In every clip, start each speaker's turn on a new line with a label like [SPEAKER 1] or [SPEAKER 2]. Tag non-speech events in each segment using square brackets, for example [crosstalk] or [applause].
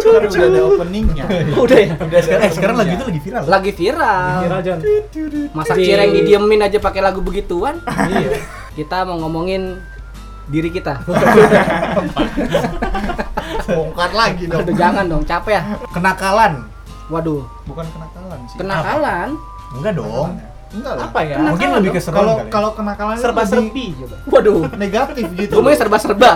[SPEAKER 1] kan udah ada openingnya.
[SPEAKER 2] Udah ya?
[SPEAKER 1] Udah
[SPEAKER 3] Eh sekarang lagu itu lagi viral.
[SPEAKER 2] Lagi viral.
[SPEAKER 4] Rajan.
[SPEAKER 2] Masa
[SPEAKER 4] Di-
[SPEAKER 2] cireng didiemin aja pakai lagu begituan?
[SPEAKER 4] Iya.
[SPEAKER 2] Kita mau ngomongin diri kita.
[SPEAKER 3] Bongkar lagi dong.
[SPEAKER 2] Aduh jangan dong, capek ya.
[SPEAKER 3] Kenakalan.
[SPEAKER 2] Waduh,
[SPEAKER 1] bukan kenakalan sih.
[SPEAKER 2] kenakalan.
[SPEAKER 3] Enggak dong.
[SPEAKER 1] Enggak lah.
[SPEAKER 4] Apa ya?
[SPEAKER 2] Kenapa?
[SPEAKER 3] Mungkin
[SPEAKER 2] Kenakalan
[SPEAKER 3] lebih ke
[SPEAKER 4] dong.
[SPEAKER 3] seru
[SPEAKER 1] Kalau
[SPEAKER 3] kali. ya.
[SPEAKER 1] kalau kenakalan itu
[SPEAKER 4] Serba
[SPEAKER 1] lebih
[SPEAKER 4] serbi coba.
[SPEAKER 2] Waduh.
[SPEAKER 1] negatif gitu.
[SPEAKER 2] Gue serba-serba.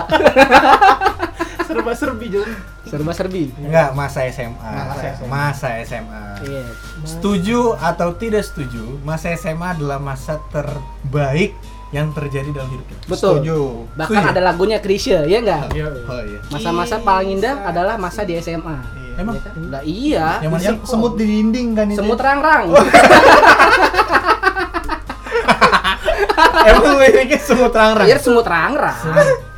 [SPEAKER 4] Serba serbi jadi.
[SPEAKER 2] Serba-serbi.
[SPEAKER 3] Enggak, masa SMA.
[SPEAKER 1] Masa SMA.
[SPEAKER 3] Masa SMA.
[SPEAKER 2] Iya.
[SPEAKER 3] Setuju atau tidak setuju, masa SMA adalah masa terbaik yang terjadi dalam hidup kita.
[SPEAKER 2] Betul.
[SPEAKER 1] Setuju.
[SPEAKER 2] Bahkan
[SPEAKER 3] Setuju.
[SPEAKER 2] ada lagunya Krisya, ya enggak?
[SPEAKER 4] Iya.
[SPEAKER 3] Oh iya.
[SPEAKER 2] Masa-masa paling indah adalah masa di SMA.
[SPEAKER 1] Iya.
[SPEAKER 3] Emang
[SPEAKER 2] Lah iya.
[SPEAKER 3] Yang
[SPEAKER 1] Yang
[SPEAKER 3] mana sih?
[SPEAKER 1] semut di dinding kan itu.
[SPEAKER 2] Semut rang-rang.
[SPEAKER 3] Emang liriknya semut terang-terang.
[SPEAKER 2] Iya, semut rang-rang.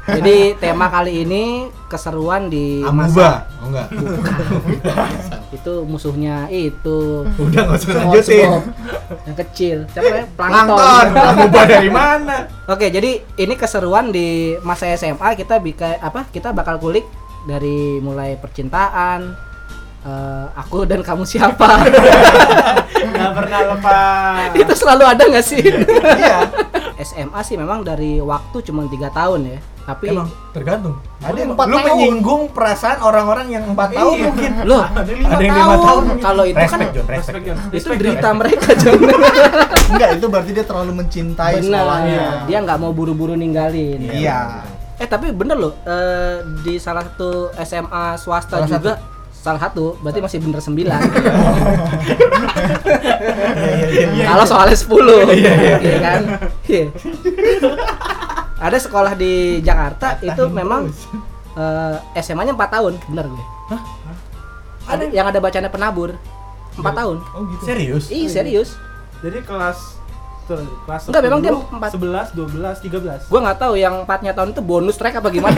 [SPEAKER 2] Jadi tema kali ini keseruan di
[SPEAKER 3] Amuba. Oh enggak.
[SPEAKER 2] itu musuhnya itu
[SPEAKER 3] Udah enggak usah lanjutin.
[SPEAKER 2] SpongeBob. yang kecil siapa ya
[SPEAKER 3] Plankton.
[SPEAKER 2] plankton
[SPEAKER 3] Amuba dari mana?
[SPEAKER 2] oke jadi ini keseruan di masa SMA kita bika apa kita bakal kulik dari mulai percintaan eh, aku dan kamu siapa
[SPEAKER 4] Enggak pernah lepas.
[SPEAKER 2] itu selalu ada nggak sih
[SPEAKER 1] [laughs]
[SPEAKER 2] [laughs]
[SPEAKER 1] Iya.
[SPEAKER 2] SMA sih memang dari waktu cuma tiga tahun ya tapi
[SPEAKER 3] Emang tergantung.
[SPEAKER 1] Ada
[SPEAKER 3] Lu-
[SPEAKER 1] empat
[SPEAKER 3] Lu
[SPEAKER 1] tahun.
[SPEAKER 3] menyinggung perasaan orang-orang yang 4 tahun
[SPEAKER 4] Iya.
[SPEAKER 3] mungkin.
[SPEAKER 2] loh
[SPEAKER 1] [laughs]
[SPEAKER 4] Ada lima
[SPEAKER 3] Ada yang
[SPEAKER 4] tahun.
[SPEAKER 3] lima tahun.
[SPEAKER 2] kalau itu kan
[SPEAKER 3] respect, Jon, respect.
[SPEAKER 4] Respect, Jon.
[SPEAKER 2] itu
[SPEAKER 4] Respect, Jon.
[SPEAKER 2] derita mereka [laughs] Jon
[SPEAKER 1] Enggak, itu berarti dia terlalu mencintai sekolahnya.
[SPEAKER 2] benar Iya, dia nggak mau buru-buru ninggalin
[SPEAKER 1] Iya.
[SPEAKER 2] Eh tapi bener loh eh, di salah satu SMA swasta
[SPEAKER 3] Salah
[SPEAKER 2] juga salah satu berarti masih bener 9 [laughs]
[SPEAKER 1] iya,
[SPEAKER 2] kalau soalnya 10 iya kan Iya. ada sekolah di Jakarta itu memang eh, SMA-nya 4 tahun bener gue ada Iya. yang ada bacanya penabur 4 tahun
[SPEAKER 1] Oh gitu.
[SPEAKER 3] Serius?
[SPEAKER 2] Ih serius
[SPEAKER 4] Jadi kelas tuh, kelas
[SPEAKER 2] Enggak, memang dia
[SPEAKER 4] 10,
[SPEAKER 2] empat.
[SPEAKER 4] 11, 12, 13.
[SPEAKER 2] gue nggak tahu yang 4 tahun itu bonus track apa [laughs] gimana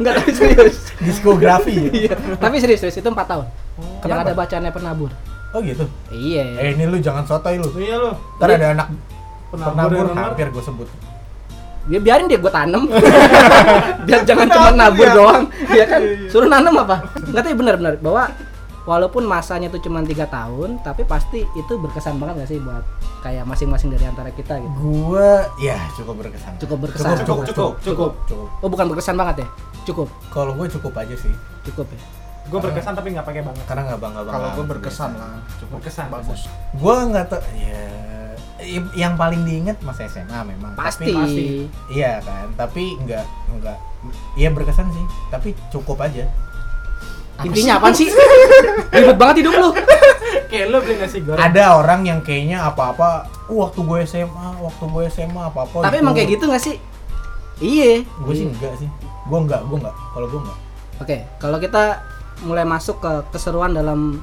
[SPEAKER 2] nggak tapi serius
[SPEAKER 3] Diskografi. ya?
[SPEAKER 2] [laughs] Iya. tapi serius serius itu 4 tahun yang
[SPEAKER 3] Kenapa?
[SPEAKER 2] ada bacanya penabur
[SPEAKER 3] Oh gitu.
[SPEAKER 2] Iya.
[SPEAKER 3] Eh ini lu jangan sotoy lu.
[SPEAKER 4] Iya lo.
[SPEAKER 3] Ntar ada anak
[SPEAKER 4] Penabur
[SPEAKER 3] penabur
[SPEAKER 4] yang
[SPEAKER 3] hampir gue sebut.
[SPEAKER 2] Ya biarin dia gue [laughs] tanem. Biar jangan cuma nabur doang. Iya kan? Suruh nanam apa? Enggak tahu benar-benar bahwa walaupun masanya itu cuma tiga tahun, tapi pasti itu berkesan banget gak sih buat kayak masing-masing dari antara kita gitu.
[SPEAKER 3] Gua ya cukup berkesan.
[SPEAKER 2] Cukup berkesan.
[SPEAKER 3] Cukup, cukup,
[SPEAKER 4] Cukup, cukup.
[SPEAKER 3] cukup.
[SPEAKER 2] Oh, bukan berkesan banget ya? Cukup.
[SPEAKER 3] Kalau gue cukup aja sih,
[SPEAKER 2] Cukup ya.
[SPEAKER 4] Gue berkesan tapi nggak pakai banget.
[SPEAKER 3] karena nggak bangga bangga.
[SPEAKER 1] Kalau gue berkesan lah. Cukup
[SPEAKER 4] Berkesan.
[SPEAKER 1] bagus.
[SPEAKER 3] Gue nggak tau. Ya, i- yang paling diinget masa SMA memang.
[SPEAKER 2] Pasti.
[SPEAKER 3] Tapi, iya kan. Tapi nggak nggak. Iya berkesan sih. Tapi cukup aja.
[SPEAKER 2] Intinya apaan sih? Ribet banget hidup lu.
[SPEAKER 4] [laughs] Kayak lo beli nasi goreng.
[SPEAKER 3] Ada orang yang kayaknya apa-apa. "Uh, waktu gue SMA, waktu gue SMA apa-apa.
[SPEAKER 2] Tapi emang kayak gitu gak sih? Iya.
[SPEAKER 3] Gue sih enggak sih. Gue enggak, gue enggak. Kalau gue enggak.
[SPEAKER 2] Oke, kalau kita mulai masuk ke keseruan dalam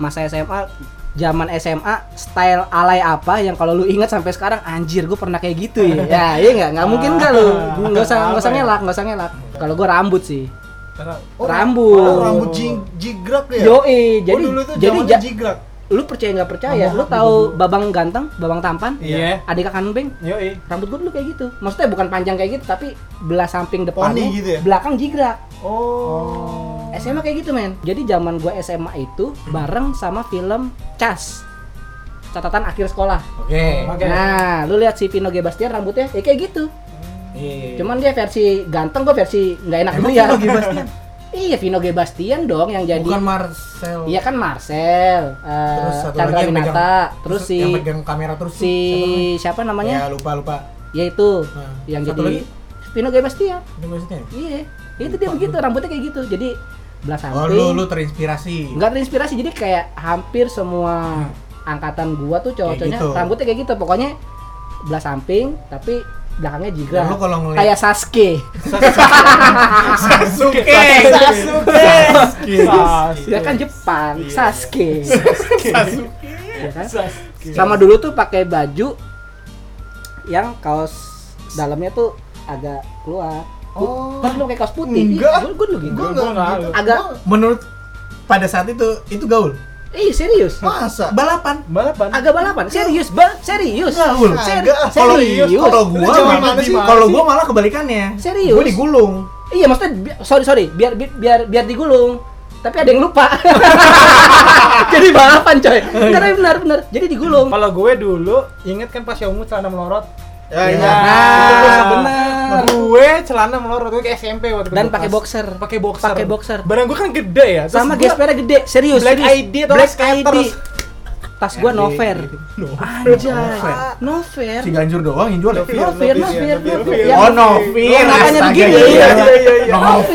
[SPEAKER 2] masa SMA, zaman SMA, style alay apa yang kalau lu ingat sampai sekarang anjir gue pernah kayak gitu
[SPEAKER 1] [laughs]
[SPEAKER 2] ya? ya iya nggak, nggak mungkin nggak lu,
[SPEAKER 1] Ah,
[SPEAKER 2] nggak usah nggak usah
[SPEAKER 4] Apa ya?
[SPEAKER 2] ngelak, nggak usah ngelak. Kalau gue rambut sih,
[SPEAKER 4] Karena
[SPEAKER 2] Rambut.
[SPEAKER 1] Oh, rambut jig- jigrak dia.
[SPEAKER 2] yoi,
[SPEAKER 1] Jadi,
[SPEAKER 2] jadi
[SPEAKER 1] Iya. Oh, dulu tuh
[SPEAKER 2] jadi
[SPEAKER 1] jadi
[SPEAKER 2] ja-
[SPEAKER 1] jigrak.
[SPEAKER 2] lu percaya nggak percaya,
[SPEAKER 3] Abang
[SPEAKER 2] lu
[SPEAKER 3] aku
[SPEAKER 2] tahu babang ganteng, babang tampan,
[SPEAKER 4] Iya.
[SPEAKER 2] adik kakak beng,
[SPEAKER 4] Yoi.
[SPEAKER 2] rambut gue dulu kayak gitu. Maksudnya bukan panjang kayak gitu, tapi belah samping depannya,
[SPEAKER 1] Poni gitu ya?
[SPEAKER 2] belakang jigrak.
[SPEAKER 1] Oh.
[SPEAKER 2] SMA kayak gitu men jadi zaman gue SMA itu bareng sama film Cas catatan akhir sekolah
[SPEAKER 3] Oke.
[SPEAKER 4] Oke.
[SPEAKER 2] nah lu lihat si Vino G. Bastian rambutnya ya kayak gitu cuman dia versi ganteng gue versi nggak enak
[SPEAKER 3] iya, Emang
[SPEAKER 2] dulu ya
[SPEAKER 3] Vino G. Bastian?
[SPEAKER 2] iya Vino G. Bastian dong yang jadi
[SPEAKER 3] Bukan Marcel.
[SPEAKER 2] iya kan Marcel eh,
[SPEAKER 3] Terus satu
[SPEAKER 2] Chandra
[SPEAKER 3] lagi yang
[SPEAKER 2] Winata
[SPEAKER 3] pegang-
[SPEAKER 2] terus si
[SPEAKER 3] yang pegang kamera terus
[SPEAKER 2] si siapa
[SPEAKER 3] siapa
[SPEAKER 2] namanya
[SPEAKER 3] namanya? Ya lupa lupa.
[SPEAKER 2] yaitu
[SPEAKER 3] Nah,
[SPEAKER 2] yang
[SPEAKER 3] satu
[SPEAKER 2] jadi
[SPEAKER 3] lagi?
[SPEAKER 2] Vino G. Bastian
[SPEAKER 3] Ini maksudnya.
[SPEAKER 2] iya itu dia begitu rambutnya kayak gitu jadi belah
[SPEAKER 3] Oh
[SPEAKER 2] samping
[SPEAKER 3] lu lu terinspirasi.
[SPEAKER 2] nggak terinspirasi jadi kayak hampir semua angkatan gua tuh cowok-cowoknya
[SPEAKER 3] Kayak gitu.
[SPEAKER 2] rambutnya kayak gitu pokoknya belah samping tapi belakangnya
[SPEAKER 3] Dan
[SPEAKER 2] jigran
[SPEAKER 3] lu kalau ngeliat
[SPEAKER 2] kayak Sasuke
[SPEAKER 3] Sasuke.
[SPEAKER 1] Sasuke.
[SPEAKER 2] ya kan Jepang Sasuke
[SPEAKER 3] Sasuke.
[SPEAKER 2] ya kan?
[SPEAKER 4] Sasuke.
[SPEAKER 2] sama dulu tuh pakai baju yang kaos dalamnya tuh agak keluar
[SPEAKER 1] Oh.
[SPEAKER 2] Pas lu pakai kaos putih,
[SPEAKER 1] Enggak.
[SPEAKER 2] Ih, gua, gua dulu gitu.
[SPEAKER 1] Gue
[SPEAKER 4] Gua
[SPEAKER 1] enggak
[SPEAKER 4] nggak-
[SPEAKER 1] gitu.
[SPEAKER 2] agak
[SPEAKER 3] Menurut pada saat itu itu gaul.
[SPEAKER 2] Ih, serius.
[SPEAKER 1] Gua- masa?
[SPEAKER 3] Balapan.
[SPEAKER 4] Balapan.
[SPEAKER 2] Agak balapan, serius, ba serius.
[SPEAKER 3] Gaul.
[SPEAKER 2] Ser-
[SPEAKER 1] Agak.
[SPEAKER 3] Kalau iya,
[SPEAKER 2] serius.
[SPEAKER 3] kalau
[SPEAKER 1] Lu
[SPEAKER 3] gua
[SPEAKER 1] zaman
[SPEAKER 3] malah-
[SPEAKER 1] mana sih?
[SPEAKER 3] kalau gua malah kebalikannya.
[SPEAKER 2] Serius?
[SPEAKER 3] Gua digulung.
[SPEAKER 2] Iya maksudnya bi- sorry sorry biar bi- biar biar digulung tapi ada yang
[SPEAKER 4] [laughs]
[SPEAKER 2] lupa jadi balapan
[SPEAKER 4] Oh,
[SPEAKER 2] coy
[SPEAKER 4] iya.
[SPEAKER 2] karena benar benar jadi digulung
[SPEAKER 4] Kalau gue dulu inget kan pas Yomu celana melorot.
[SPEAKER 1] Ya,
[SPEAKER 3] Iya.
[SPEAKER 1] iya.
[SPEAKER 2] nah
[SPEAKER 4] Nah,
[SPEAKER 2] benar
[SPEAKER 4] Gue celana melorot gue ke SMP waktu itu
[SPEAKER 2] dan
[SPEAKER 4] gue
[SPEAKER 2] pakai
[SPEAKER 4] kelas.
[SPEAKER 2] boxer
[SPEAKER 4] Pakai boxer.
[SPEAKER 2] Pakai boxer.
[SPEAKER 4] Barang gue kan gede ya. terus
[SPEAKER 2] sama
[SPEAKER 4] gue-
[SPEAKER 2] gespernya gede serius
[SPEAKER 4] Black
[SPEAKER 2] serius.
[SPEAKER 4] ID atau Iya,
[SPEAKER 2] Black
[SPEAKER 4] skater.
[SPEAKER 2] ID tas gua nover
[SPEAKER 4] gitu. Iya, No.
[SPEAKER 2] anjay
[SPEAKER 3] Nover.
[SPEAKER 2] nover
[SPEAKER 3] Ya, gitu. Si Ganjur doang yang jual. ya?
[SPEAKER 1] Novi.
[SPEAKER 2] nover
[SPEAKER 1] Nover,
[SPEAKER 2] nover
[SPEAKER 1] Nover.
[SPEAKER 2] nover
[SPEAKER 3] Oh,
[SPEAKER 2] Yang-
[SPEAKER 3] Novir.
[SPEAKER 2] Makanya
[SPEAKER 3] astaga,
[SPEAKER 2] begini.
[SPEAKER 3] iya, iya, iya, iya.
[SPEAKER 2] Nover.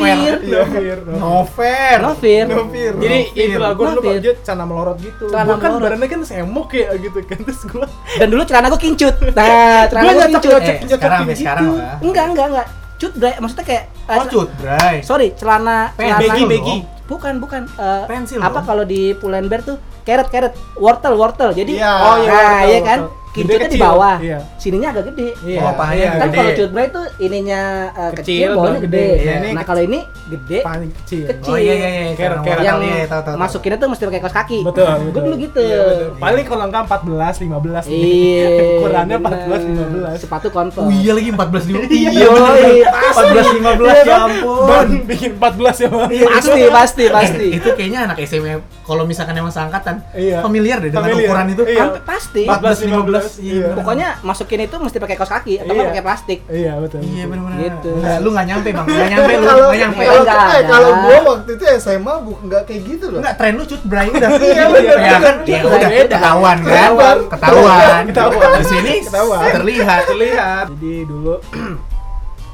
[SPEAKER 4] Iya, Fir.
[SPEAKER 3] Nover.
[SPEAKER 2] nover
[SPEAKER 1] Novir.
[SPEAKER 4] Jadi
[SPEAKER 3] Eh,
[SPEAKER 4] itulah gue dulu
[SPEAKER 2] Nover.
[SPEAKER 4] dia celana melorot gitu.
[SPEAKER 2] Celana
[SPEAKER 4] Gue kan
[SPEAKER 2] ya, melorot.
[SPEAKER 4] badannya kan semok ya gitu kan. Terus gue
[SPEAKER 2] dan dulu celana gua kincut nah celana
[SPEAKER 4] Gua
[SPEAKER 2] gua
[SPEAKER 4] nyocok-
[SPEAKER 2] kincut
[SPEAKER 4] nyocok.
[SPEAKER 3] Eh, sekarang sampai
[SPEAKER 4] gitu.
[SPEAKER 3] sekarang lah.
[SPEAKER 2] enggak enggak enggak cut bray maksudnya kayak eh,
[SPEAKER 3] Oh, cut, Bray.
[SPEAKER 2] sorry celana celana Oh,
[SPEAKER 4] Baggy,
[SPEAKER 3] Pensil
[SPEAKER 4] baggy.
[SPEAKER 3] dong.
[SPEAKER 2] bukan bukan eh,
[SPEAKER 3] Pensil
[SPEAKER 2] apa
[SPEAKER 3] dong.
[SPEAKER 2] kalau di Pull&Bear tuh keret keret wortel wortel jadi
[SPEAKER 1] Iya.
[SPEAKER 4] Oh, iya,
[SPEAKER 2] nah,
[SPEAKER 4] wortel,
[SPEAKER 2] iya kan
[SPEAKER 4] wortel.
[SPEAKER 2] kincutnya
[SPEAKER 4] Gede
[SPEAKER 2] di
[SPEAKER 4] kecil.
[SPEAKER 2] bawah
[SPEAKER 4] Iya.
[SPEAKER 2] sininya agak gede
[SPEAKER 4] Iya.
[SPEAKER 3] Oh, pahanya
[SPEAKER 4] Iya,
[SPEAKER 2] kan
[SPEAKER 3] gede.
[SPEAKER 2] kalau cut bray tuh ininya eh,
[SPEAKER 4] Kecil,
[SPEAKER 2] kecil, bawahnya
[SPEAKER 4] gede.
[SPEAKER 2] gede,
[SPEAKER 4] Iya, ini
[SPEAKER 2] nah kalau ini gede
[SPEAKER 4] paling kecil.
[SPEAKER 2] Kecil.
[SPEAKER 3] Oh iya iya iya.
[SPEAKER 4] Kero-
[SPEAKER 3] sekarang
[SPEAKER 4] kero.
[SPEAKER 3] orang
[SPEAKER 2] yang
[SPEAKER 3] tahu, iya, iya, tahu, tahu, tahu.
[SPEAKER 2] masukinnya tuh mesti pakai kaos kaki
[SPEAKER 4] Betul,
[SPEAKER 2] gue
[SPEAKER 4] betul.
[SPEAKER 2] dulu gitu
[SPEAKER 4] Iya, betul. Paling kalau enggak 14, 15 nih.
[SPEAKER 2] Iya,
[SPEAKER 4] [laughs] Ukurannya
[SPEAKER 2] bener.
[SPEAKER 4] 14, 15.
[SPEAKER 2] Sepatu converse.
[SPEAKER 3] Oh iya lagi 14 15.
[SPEAKER 2] Iya, iya. kan?
[SPEAKER 3] 14 15 ya ampun.
[SPEAKER 4] Ban bikin 14 ya, Bang.
[SPEAKER 2] Iya,
[SPEAKER 4] [laughs]
[SPEAKER 2] Pasti, pasti, pasti.
[SPEAKER 3] Itu kayaknya anak SMA kalau misalkan emang seangkatan
[SPEAKER 4] Iya.
[SPEAKER 3] familiar deh dengan
[SPEAKER 4] Familiar.
[SPEAKER 3] ukuran itu.
[SPEAKER 4] Iya.
[SPEAKER 2] Hampir pasti.
[SPEAKER 3] 14 15.
[SPEAKER 4] Iya.
[SPEAKER 2] Pokoknya masukin itu mesti pakai kaos kaki atau nggak
[SPEAKER 4] Iya.
[SPEAKER 2] pakai plastik.
[SPEAKER 4] Iya, betul.
[SPEAKER 3] Iya
[SPEAKER 4] betul.
[SPEAKER 3] benar-benar.
[SPEAKER 2] Gitu.
[SPEAKER 3] Nggak, lu nggak nyampe, Bang. Nggak nyampe lu,
[SPEAKER 1] kalau
[SPEAKER 3] nggak nyampe.
[SPEAKER 1] kalau
[SPEAKER 2] Enggak
[SPEAKER 1] eh,
[SPEAKER 2] ada.
[SPEAKER 1] kalau gua waktu itu SMA bu nggak kayak gitu loh.
[SPEAKER 3] Enggak tren lu cut Bray udah.
[SPEAKER 1] Iya, bener,
[SPEAKER 3] Ya,
[SPEAKER 1] bener.
[SPEAKER 3] ya udah
[SPEAKER 4] Beda.
[SPEAKER 3] ketahuan kan.
[SPEAKER 1] Ketahuan.
[SPEAKER 3] Ketahuan.
[SPEAKER 4] Ketahuan.
[SPEAKER 3] Di sini
[SPEAKER 4] Ketahuan.
[SPEAKER 3] terlihat. Terlihat.
[SPEAKER 4] Jadi dulu [clears throat]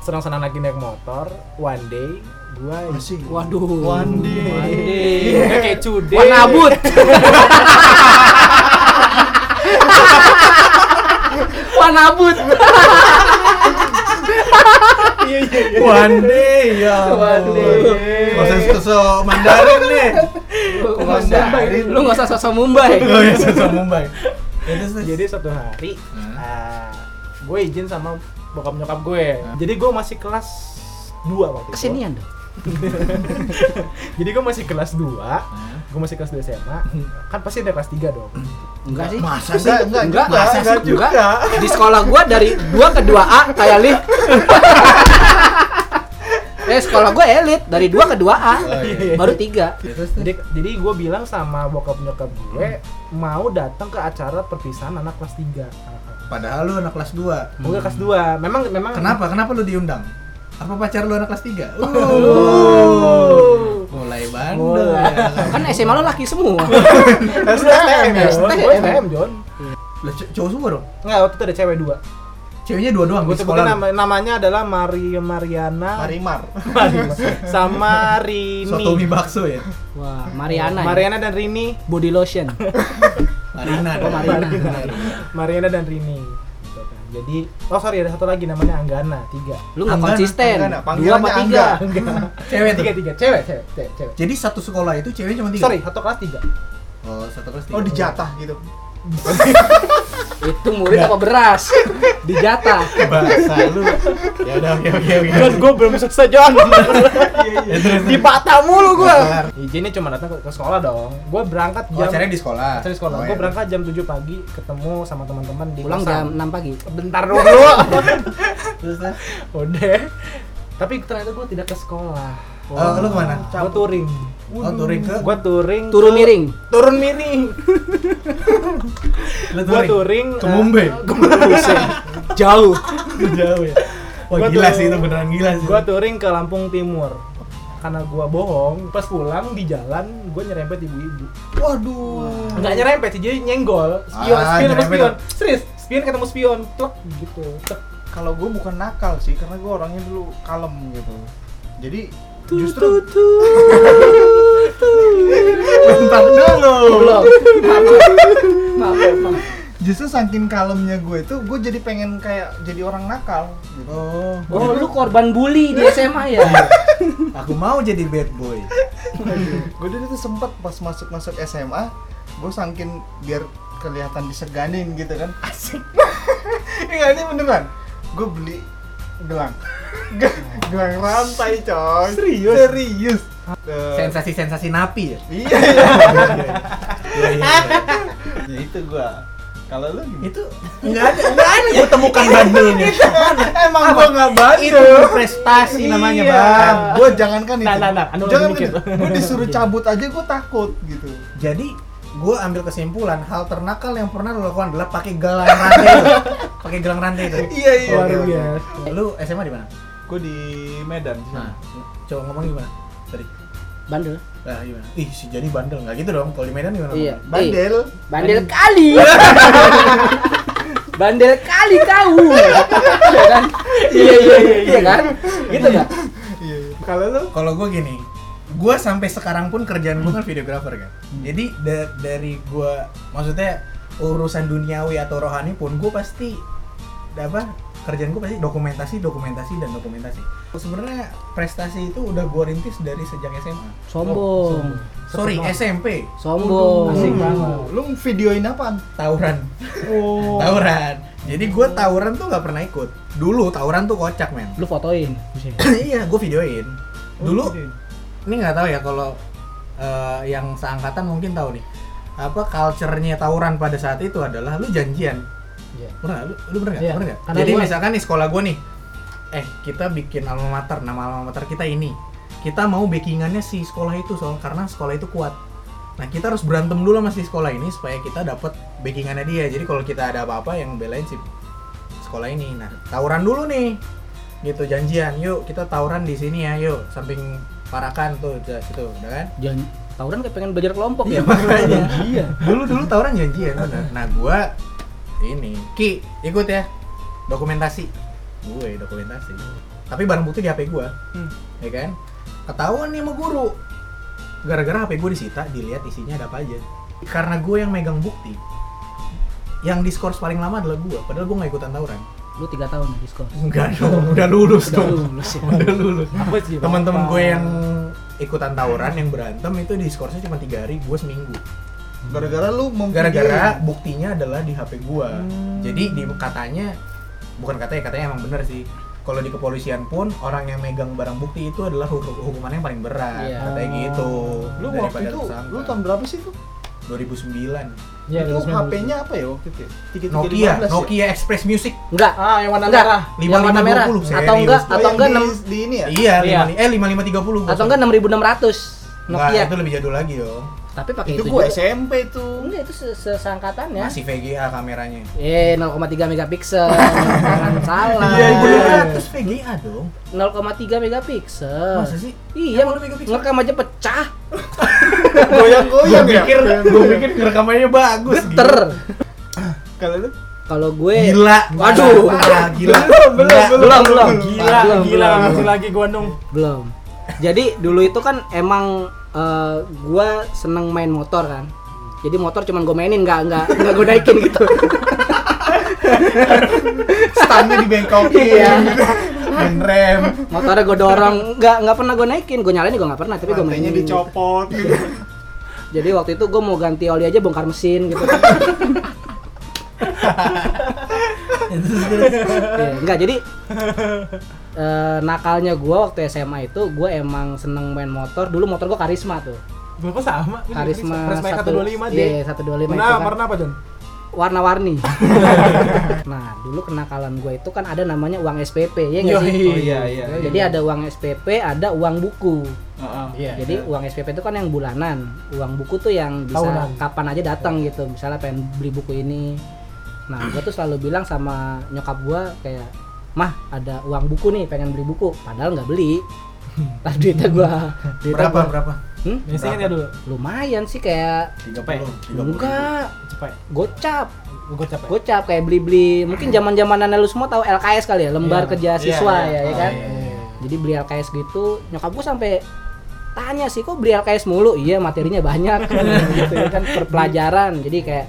[SPEAKER 4] senang-senang lagi naik motor, one day gua
[SPEAKER 2] Waduh.
[SPEAKER 1] Wandi.
[SPEAKER 4] Iya, kayak cude.
[SPEAKER 2] Warna abut. [laughs] Warna abut.
[SPEAKER 4] [laughs] Iya, iya, iya.
[SPEAKER 3] One day ya.
[SPEAKER 2] One day.
[SPEAKER 3] Proses kesel Mandarin nih.
[SPEAKER 2] Lu nggak usah sosok Mumbai.
[SPEAKER 3] Oh ya susah Mumbai. Itu sih.
[SPEAKER 4] Jadi suatu hari
[SPEAKER 3] Hmm.
[SPEAKER 4] ah, gue izin sama bokap nyokap gue.
[SPEAKER 3] Iya.
[SPEAKER 4] Jadi gue masih kelas 2 waktu itu.
[SPEAKER 2] Kesinian dong.
[SPEAKER 4] Jadi gue masih kelas 2. Gue masih kelas 2 SMA.
[SPEAKER 3] Hmm.
[SPEAKER 4] Kan pasti ada kelas 3 dong.
[SPEAKER 2] Enggak sih.
[SPEAKER 3] Masa sih?
[SPEAKER 1] Enggak, enggak,
[SPEAKER 2] Enggak,
[SPEAKER 1] juga,
[SPEAKER 2] masa
[SPEAKER 1] enggak
[SPEAKER 2] sih? Enggak. Di sekolah gua dari 2 ke 2A kayak lift. Eh sekolah gua elit dari 2 ke 2A.
[SPEAKER 3] Oh, iya,
[SPEAKER 2] Baru 3.
[SPEAKER 4] Jadi, jadi gue bilang sama bokap nyokap gue
[SPEAKER 3] Hmm.
[SPEAKER 4] mau datang ke acara perpisahan anak kelas 3.
[SPEAKER 3] Padahal lu anak kelas 2.
[SPEAKER 4] Gue kelas 2. Memang memang
[SPEAKER 3] Hmm.
[SPEAKER 4] [laughs]
[SPEAKER 3] Kenapa? Kenapa lu diundang? Apa pacar lu anak kelas 3? Mulai bandel.
[SPEAKER 4] Mulai.
[SPEAKER 3] ya kan?
[SPEAKER 2] Kan SMA lo laki semua.
[SPEAKER 1] STM ya.
[SPEAKER 4] Jon. Gue STM, Jon.
[SPEAKER 3] Lah, c- cowok semua dong.
[SPEAKER 4] Enggak, waktu itu ada cewek dua.
[SPEAKER 3] Ceweknya dua doang
[SPEAKER 4] Gue
[SPEAKER 3] di
[SPEAKER 4] sebutin
[SPEAKER 3] sekolah. lu.
[SPEAKER 4] nama, namanya adalah Mari Mariana
[SPEAKER 1] Marimar.
[SPEAKER 4] sama Rini.
[SPEAKER 3] Soto mie bakso ya.
[SPEAKER 2] Wah, Mariana. ya?
[SPEAKER 4] Mariana dan Rini.
[SPEAKER 2] Body lotion.
[SPEAKER 3] Marina.
[SPEAKER 2] Oh, Marina.
[SPEAKER 3] Benar.
[SPEAKER 4] Mariana dan Rini. Gitu kan. Jadi, oh sorry ada satu lagi namanya Anggana tiga.
[SPEAKER 2] Lu nggak
[SPEAKER 3] Anggana,
[SPEAKER 2] konsisten.
[SPEAKER 1] Anggana.
[SPEAKER 2] Dua apa
[SPEAKER 1] Panggilannya
[SPEAKER 2] tiga?
[SPEAKER 4] Anggana. [laughs]
[SPEAKER 3] Cewek
[SPEAKER 4] tiga
[SPEAKER 3] tiga.
[SPEAKER 4] tiga cewek cewek cewek. cewek.
[SPEAKER 3] Jadi satu sekolah itu cewek cuma tiga.
[SPEAKER 4] Sorry, satu kelas tiga.
[SPEAKER 3] Oh, satu kelas tiga.
[SPEAKER 1] Oh dijatah gitu.
[SPEAKER 2] Itu murid apa [laughs] beras? Dijatah.
[SPEAKER 3] Bahasa lu. Ya udah oke oke oke.
[SPEAKER 4] gue belum selesai John.
[SPEAKER 3] Ya, terus, terus.
[SPEAKER 4] Di patah mulu gue.
[SPEAKER 3] Benar.
[SPEAKER 4] iya. Izinnya cuma datang ke, ke sekolah dong. Gue berangkat
[SPEAKER 3] Oh,
[SPEAKER 4] jam.
[SPEAKER 3] acaranya di sekolah.
[SPEAKER 4] acara di sekolah.
[SPEAKER 3] Oh,
[SPEAKER 4] gue
[SPEAKER 3] ya.
[SPEAKER 4] berangkat jam 7 pagi ketemu sama teman-teman di
[SPEAKER 2] Pulang
[SPEAKER 4] [laughs] kosan.
[SPEAKER 2] jam 6 pagi.
[SPEAKER 4] Bentar dulu.
[SPEAKER 3] Terus terus.
[SPEAKER 4] Udah. Tapi ternyata gue tidak ke sekolah.
[SPEAKER 3] Eh, lu kemana?
[SPEAKER 4] Gue touring.
[SPEAKER 3] Oh, touring ke?
[SPEAKER 4] Gue touring.
[SPEAKER 2] Turun
[SPEAKER 4] ke-
[SPEAKER 2] miring.
[SPEAKER 4] Turun miring.
[SPEAKER 3] Lu
[SPEAKER 4] Gue touring.
[SPEAKER 3] Ke
[SPEAKER 4] eh,
[SPEAKER 3] Mumbai.
[SPEAKER 2] Jauh.
[SPEAKER 3] Jauh ya. Wah,
[SPEAKER 4] Gua
[SPEAKER 3] gila
[SPEAKER 4] tuh-
[SPEAKER 3] sih itu beneran gila sih.
[SPEAKER 4] Gue touring ke Lampung Timur. Karena gue bohong, pas pulang di jalan gue nyerempet ibu-ibu.
[SPEAKER 3] Waduh.
[SPEAKER 4] Enggak nyerempet sih, jadi nyenggol. Spion,
[SPEAKER 3] Ah,
[SPEAKER 4] spion ketemu
[SPEAKER 3] nyerempet.
[SPEAKER 4] spion. Serius, spion ketemu spion. Tlek gitu. Tek.
[SPEAKER 1] Kalau gue bukan nakal sih, karena gue orangnya dulu kalem gitu. Jadi
[SPEAKER 4] Tut,
[SPEAKER 1] justru
[SPEAKER 4] tut,
[SPEAKER 3] [laughs]
[SPEAKER 4] tut.
[SPEAKER 3] Bentar dulu.
[SPEAKER 2] Belum. Maaf, maaf, maaf.
[SPEAKER 1] justru saking kalemnya gue itu gue jadi pengen kayak jadi orang nakal gitu.
[SPEAKER 3] Oh,
[SPEAKER 2] Oh, lu korban [laughs] bully di SMA ya?
[SPEAKER 3] aku mau jadi bad boy.
[SPEAKER 1] gue dulu tuh sempet pas masuk masuk SMA gue sangkin biar kelihatan diseganin gitu kan [laughs] asik enggak ini beneran gue beli gelang Ge- gelang rantai coy
[SPEAKER 4] Serius?
[SPEAKER 1] serius Eh,
[SPEAKER 3] Sensasi-sensasi napi ya.
[SPEAKER 1] iya, iya.
[SPEAKER 3] Iya, iya, iya.
[SPEAKER 1] ya itu gue Kalau lu gimana?
[SPEAKER 3] Itu nggak ada, nggak ada gue temukan bandelnya.
[SPEAKER 1] Emang gua nggak
[SPEAKER 3] Itu
[SPEAKER 1] bandel.
[SPEAKER 3] prestasi namanya
[SPEAKER 1] Iya.
[SPEAKER 3] bang.
[SPEAKER 1] Gua jangankan itu.
[SPEAKER 4] Nah, nah, nah, anu
[SPEAKER 1] Jangan kan,
[SPEAKER 4] lebih mikir.
[SPEAKER 1] gua disuruh cabut aja gua takut gitu.
[SPEAKER 3] Jadi gue ambil kesimpulan hal ternakal yang pernah lo lakukan adalah pakai galang rantai itu, pakai galang rantai itu.
[SPEAKER 1] Iya iya.
[SPEAKER 4] Luar
[SPEAKER 1] oke, oke.
[SPEAKER 4] biasa.
[SPEAKER 3] Lu SMA di mana?
[SPEAKER 1] Gua di Medan. di sana.
[SPEAKER 3] Nah, coba ngomong gimana? Tadi.
[SPEAKER 2] bandel
[SPEAKER 3] Nah, gimana? Ih, si jadi bandel nggak gitu dong. Kalau di Medan gimana?
[SPEAKER 2] iya eh,
[SPEAKER 1] Bandel.
[SPEAKER 2] bandel [laughs] kali bandel kali [laughs] kau Iya kan iya iya iya iya kan gitu nggak
[SPEAKER 1] Iya. iya.
[SPEAKER 4] Kalau lu
[SPEAKER 3] Kalau gue gini, gue sampai sekarang pun kerjaan gue kan videographer kan. Jadi da- dari gue, maksudnya urusan duniawi atau rohani pun gue pasti apa kerjaan gue pasti dokumentasi, dokumentasi dan dokumentasi. Sebenarnya prestasi itu udah gue rintis dari sejak SMA.
[SPEAKER 2] sombong
[SPEAKER 3] Sorry SMP,
[SPEAKER 2] sombong
[SPEAKER 4] Asik
[SPEAKER 1] Hmm.
[SPEAKER 4] banget.
[SPEAKER 1] Lu videoin apaan?
[SPEAKER 3] tawuran,
[SPEAKER 1] Oh.
[SPEAKER 3] [laughs] tawuran. Jadi gue tawuran tuh nggak pernah ikut. Dulu tawuran tuh kocak men. [clears throat]
[SPEAKER 2] lu fotoin
[SPEAKER 3] iya, gue videoin. Dulu
[SPEAKER 1] videoin.
[SPEAKER 3] ini nggak tahu ya kalau eh, yang seangkatan mungkin tahu nih apa culture-nya tawuran pada saat itu adalah lu janjian
[SPEAKER 4] Iya.
[SPEAKER 3] pernah lu, lu pernah nggak
[SPEAKER 4] Iya.
[SPEAKER 3] pernah nggak
[SPEAKER 4] Karena
[SPEAKER 3] jadi
[SPEAKER 4] gua-
[SPEAKER 3] misalkan nih sekolah gua nih eh kita bikin alma mater nama alma mater kita ini kita mau backingannya si sekolah itu soal karena sekolah itu kuat nah kita harus berantem dulu sama si sekolah ini supaya kita dapat backingannya dia jadi kalau kita ada apa-apa yang belain si sekolah ini nah tawuran dulu nih gitu janjian yuk kita tawuran di sini ya yuk samping parakan tuh udah situ udah kan
[SPEAKER 2] jangan tawuran kayak pengen belajar kelompok ya
[SPEAKER 3] Iya, [laughs] makanya.
[SPEAKER 2] iya
[SPEAKER 3] dulu dulu tawuran janjian bener. nah gua ini ki ikut ya dokumentasi gue dokumentasi tapi barang bukti di hp gua
[SPEAKER 4] Hmm.
[SPEAKER 3] ya kan ketahuan nih sama guru gara-gara hp gue disita dilihat isinya ada apa aja karena gue yang megang bukti yang diskors paling lama adalah gua padahal gue nggak ikutan tawuran
[SPEAKER 2] lu tiga tahun diskon
[SPEAKER 3] enggak dong udah lulus
[SPEAKER 2] udah
[SPEAKER 3] dong
[SPEAKER 2] lulus ya
[SPEAKER 3] udah lulus
[SPEAKER 4] apa sih?
[SPEAKER 3] teman-teman gue yang ikutan tawuran yang berantem itu diskorsnya cuma tiga hari gue seminggu
[SPEAKER 1] Gara-gara lu ya?
[SPEAKER 3] gara-gara
[SPEAKER 1] memvideoin.
[SPEAKER 3] buktinya adalah di HP gua. Jadi di katanya bukan katanya katanya emang bener sih. Kalau di kepolisian pun orang yang megang barang bukti itu adalah hu- hukumannya yang paling berat.
[SPEAKER 2] Iya.
[SPEAKER 3] Katanya gitu.
[SPEAKER 1] Lu waktu itu lu tahun berapa sih tuh?
[SPEAKER 3] 2009.
[SPEAKER 4] Iya,
[SPEAKER 1] itu
[SPEAKER 4] terus main
[SPEAKER 1] HP-nya apa ya waktu itu? ya? 3315
[SPEAKER 3] Nokia,
[SPEAKER 1] ya?
[SPEAKER 3] Nokia Express Music.
[SPEAKER 2] enggak
[SPEAKER 4] musik. Ah, yang warna
[SPEAKER 2] Enggak.
[SPEAKER 4] merah.
[SPEAKER 2] Yang warna merah
[SPEAKER 3] 5520, serius.
[SPEAKER 2] atau enggak
[SPEAKER 1] Oh,
[SPEAKER 2] atau
[SPEAKER 1] yang
[SPEAKER 2] enggak
[SPEAKER 1] di-
[SPEAKER 2] 6
[SPEAKER 1] di ini ya?
[SPEAKER 3] Iya,
[SPEAKER 4] Iya.
[SPEAKER 3] 55 eh 5530.
[SPEAKER 2] atau enggak 6500 Nokia
[SPEAKER 3] itu lebih jadul lagi yo.
[SPEAKER 2] tapi pakai itu,
[SPEAKER 1] Itu gua
[SPEAKER 2] juga.
[SPEAKER 1] SMP tuh.
[SPEAKER 2] enggak itu se- sesangkatannya
[SPEAKER 3] Masih VGA kameranya.
[SPEAKER 2] eh 0,3 megapiksel
[SPEAKER 3] [laughs]
[SPEAKER 2] jangan salah
[SPEAKER 3] Iya, itu VGA dong.
[SPEAKER 2] 0,3 megapiksel
[SPEAKER 3] Masa sih?
[SPEAKER 2] iya
[SPEAKER 3] Emang lu megapiksel?
[SPEAKER 2] ngerekam aja pecah
[SPEAKER 1] Goyang-goyang ya.
[SPEAKER 3] gue pikir rekamannya bagus.
[SPEAKER 2] ter
[SPEAKER 1] Kalau lu
[SPEAKER 2] kalau gue
[SPEAKER 3] Gila.
[SPEAKER 2] Waduh.
[SPEAKER 3] Parah, gila.
[SPEAKER 1] belum,
[SPEAKER 3] Gila.
[SPEAKER 2] belum belum
[SPEAKER 4] Gila,
[SPEAKER 2] belum,
[SPEAKER 4] gila,
[SPEAKER 2] belum.
[SPEAKER 4] masih lagi gua nung.
[SPEAKER 2] Belum. Jadi dulu itu kan emang eh, gua seneng main motor kan. Jadi motor cuman gue mainin nggak nggak nggak gue naikin gitu.
[SPEAKER 1] standnya di Bangkok gitu.
[SPEAKER 2] Iya.
[SPEAKER 3] Dan rem.
[SPEAKER 2] Motornya gue dorong nggak nggak pernah gue naikin. Gue nyalain juga nggak pernah. Tapi gue
[SPEAKER 1] Rantainya
[SPEAKER 2] mainin.
[SPEAKER 1] dicopot gitu.
[SPEAKER 2] Jadi waktu itu gue mau ganti oli aja bongkar mesin
[SPEAKER 4] [laughs]
[SPEAKER 2] gitu. Iya, Nggak jadi eh, nakalnya gua waktu SMA itu gua emang seneng main motor. Dulu motor gue karisma tuh.
[SPEAKER 4] Berapa sama? Ini
[SPEAKER 2] Karisma
[SPEAKER 4] Karisma 125 deh.
[SPEAKER 2] Iya, 125 itu
[SPEAKER 4] Nah,
[SPEAKER 2] kan.
[SPEAKER 4] warna apa, Jon? [laughs]
[SPEAKER 2] warna-warni. nah, dulu kenakalan gue itu kan ada namanya uang SPP, ya nggak
[SPEAKER 4] Yoi.
[SPEAKER 2] sih?
[SPEAKER 4] Oh,
[SPEAKER 1] iya, iya,
[SPEAKER 2] Jadi ada uang SPP, ada uang buku.
[SPEAKER 1] Heeh.
[SPEAKER 3] Iya,
[SPEAKER 2] Jadi uang SPP itu kan yang bulanan, uang buku tuh yang bisa
[SPEAKER 4] Tahunan.
[SPEAKER 2] kapan aja datang gitu. Misalnya pengen beli buku ini. Nah, gue tuh selalu bilang sama nyokap gue kayak, mah ada uang buku nih, pengen beli buku. Padahal nggak beli. Lah duitnya gue, duitnya
[SPEAKER 3] Berapa
[SPEAKER 2] gua-
[SPEAKER 3] berapa?
[SPEAKER 2] Hmm?
[SPEAKER 4] Biasanya dia ya dulu.
[SPEAKER 2] lumayan sih kayak
[SPEAKER 3] 30.
[SPEAKER 2] enggak
[SPEAKER 4] Cepet.
[SPEAKER 2] gocap
[SPEAKER 4] Gue capek.
[SPEAKER 2] gocap kayak beli-beli mungkin zaman zamanannya lu semua tahu LKS kali ya lembar
[SPEAKER 4] Iya.
[SPEAKER 2] kerja siswa
[SPEAKER 3] Iya, iya.
[SPEAKER 2] ya, ya
[SPEAKER 3] Oh,
[SPEAKER 2] kan
[SPEAKER 3] iya, iya.
[SPEAKER 2] jadi beli LKS gitu nyokap gua sampai tanya sih kok beli LKS mulu iya materinya banyak gitu ya kan per pelajaran jadi kayak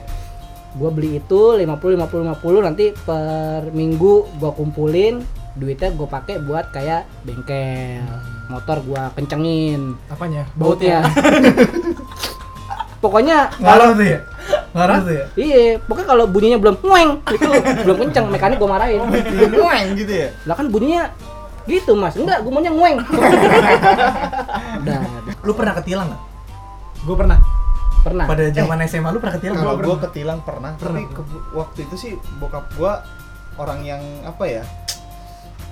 [SPEAKER 2] gua beli itu 50 50 50 nanti per minggu gua kumpulin duitnya gua pakai buat kayak bengkel motor gua kencengin
[SPEAKER 4] Apanya?
[SPEAKER 2] bautnya [laughs] pokoknya
[SPEAKER 3] Ngaruh tuh ya? Ngaruh tuh ya?
[SPEAKER 2] Iya, pokoknya kalau bunyinya belum ngueng itu belum kencang, mekanik gua marahin.
[SPEAKER 1] Mueng [laughs] gitu ya.
[SPEAKER 2] Lah kan bunyinya gitu, Mas. Enggak, gua maunya ngueng. Udah.
[SPEAKER 3] Lu pernah ketilang nggak?
[SPEAKER 4] Gue pernah.
[SPEAKER 2] Pernah.
[SPEAKER 3] Pada zaman SMA lu pernah ketilang
[SPEAKER 1] Kalau
[SPEAKER 3] belum?
[SPEAKER 1] gue ketilang Iya, pernah, tapi
[SPEAKER 3] Pernah.
[SPEAKER 1] ke- waktu itu sih bokap gue orang yang apa ya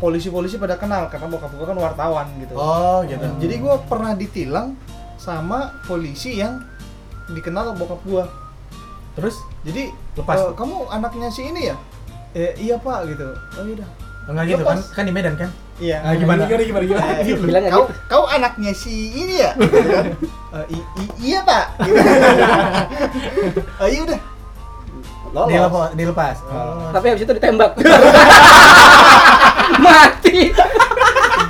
[SPEAKER 1] polisi-polisi pada kenal karena bokap gue kan wartawan gitu.
[SPEAKER 3] Oh, gitu.
[SPEAKER 1] Jadi gue pernah ditilang sama polisi yang dikenal bokap gue.
[SPEAKER 3] Terus
[SPEAKER 1] Jadi
[SPEAKER 3] Lepas.
[SPEAKER 1] "Eh, kamu anaknya si ini ya? "Eh, iya pak gitu. Oh iya. dah.
[SPEAKER 3] enggak gitu kan?
[SPEAKER 1] Lepas.
[SPEAKER 3] Kan di Medan kan?
[SPEAKER 1] Iya. gitu.
[SPEAKER 3] Ah, gimana? Gimana Eh, gimana gimana?
[SPEAKER 2] Bilang aja.
[SPEAKER 1] kau kau anaknya si ini [laughs] ya? "Eh, i- i- iya [laughs] pak. Gitu. oh iya udah.
[SPEAKER 3] Dilepas, dilepas. Oh.
[SPEAKER 2] Tapi habis itu ditembak. [laughs] Mati.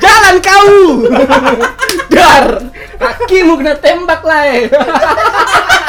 [SPEAKER 2] Jalan [laughs] eh. kau. Dar. Kakimu kena tembak lah.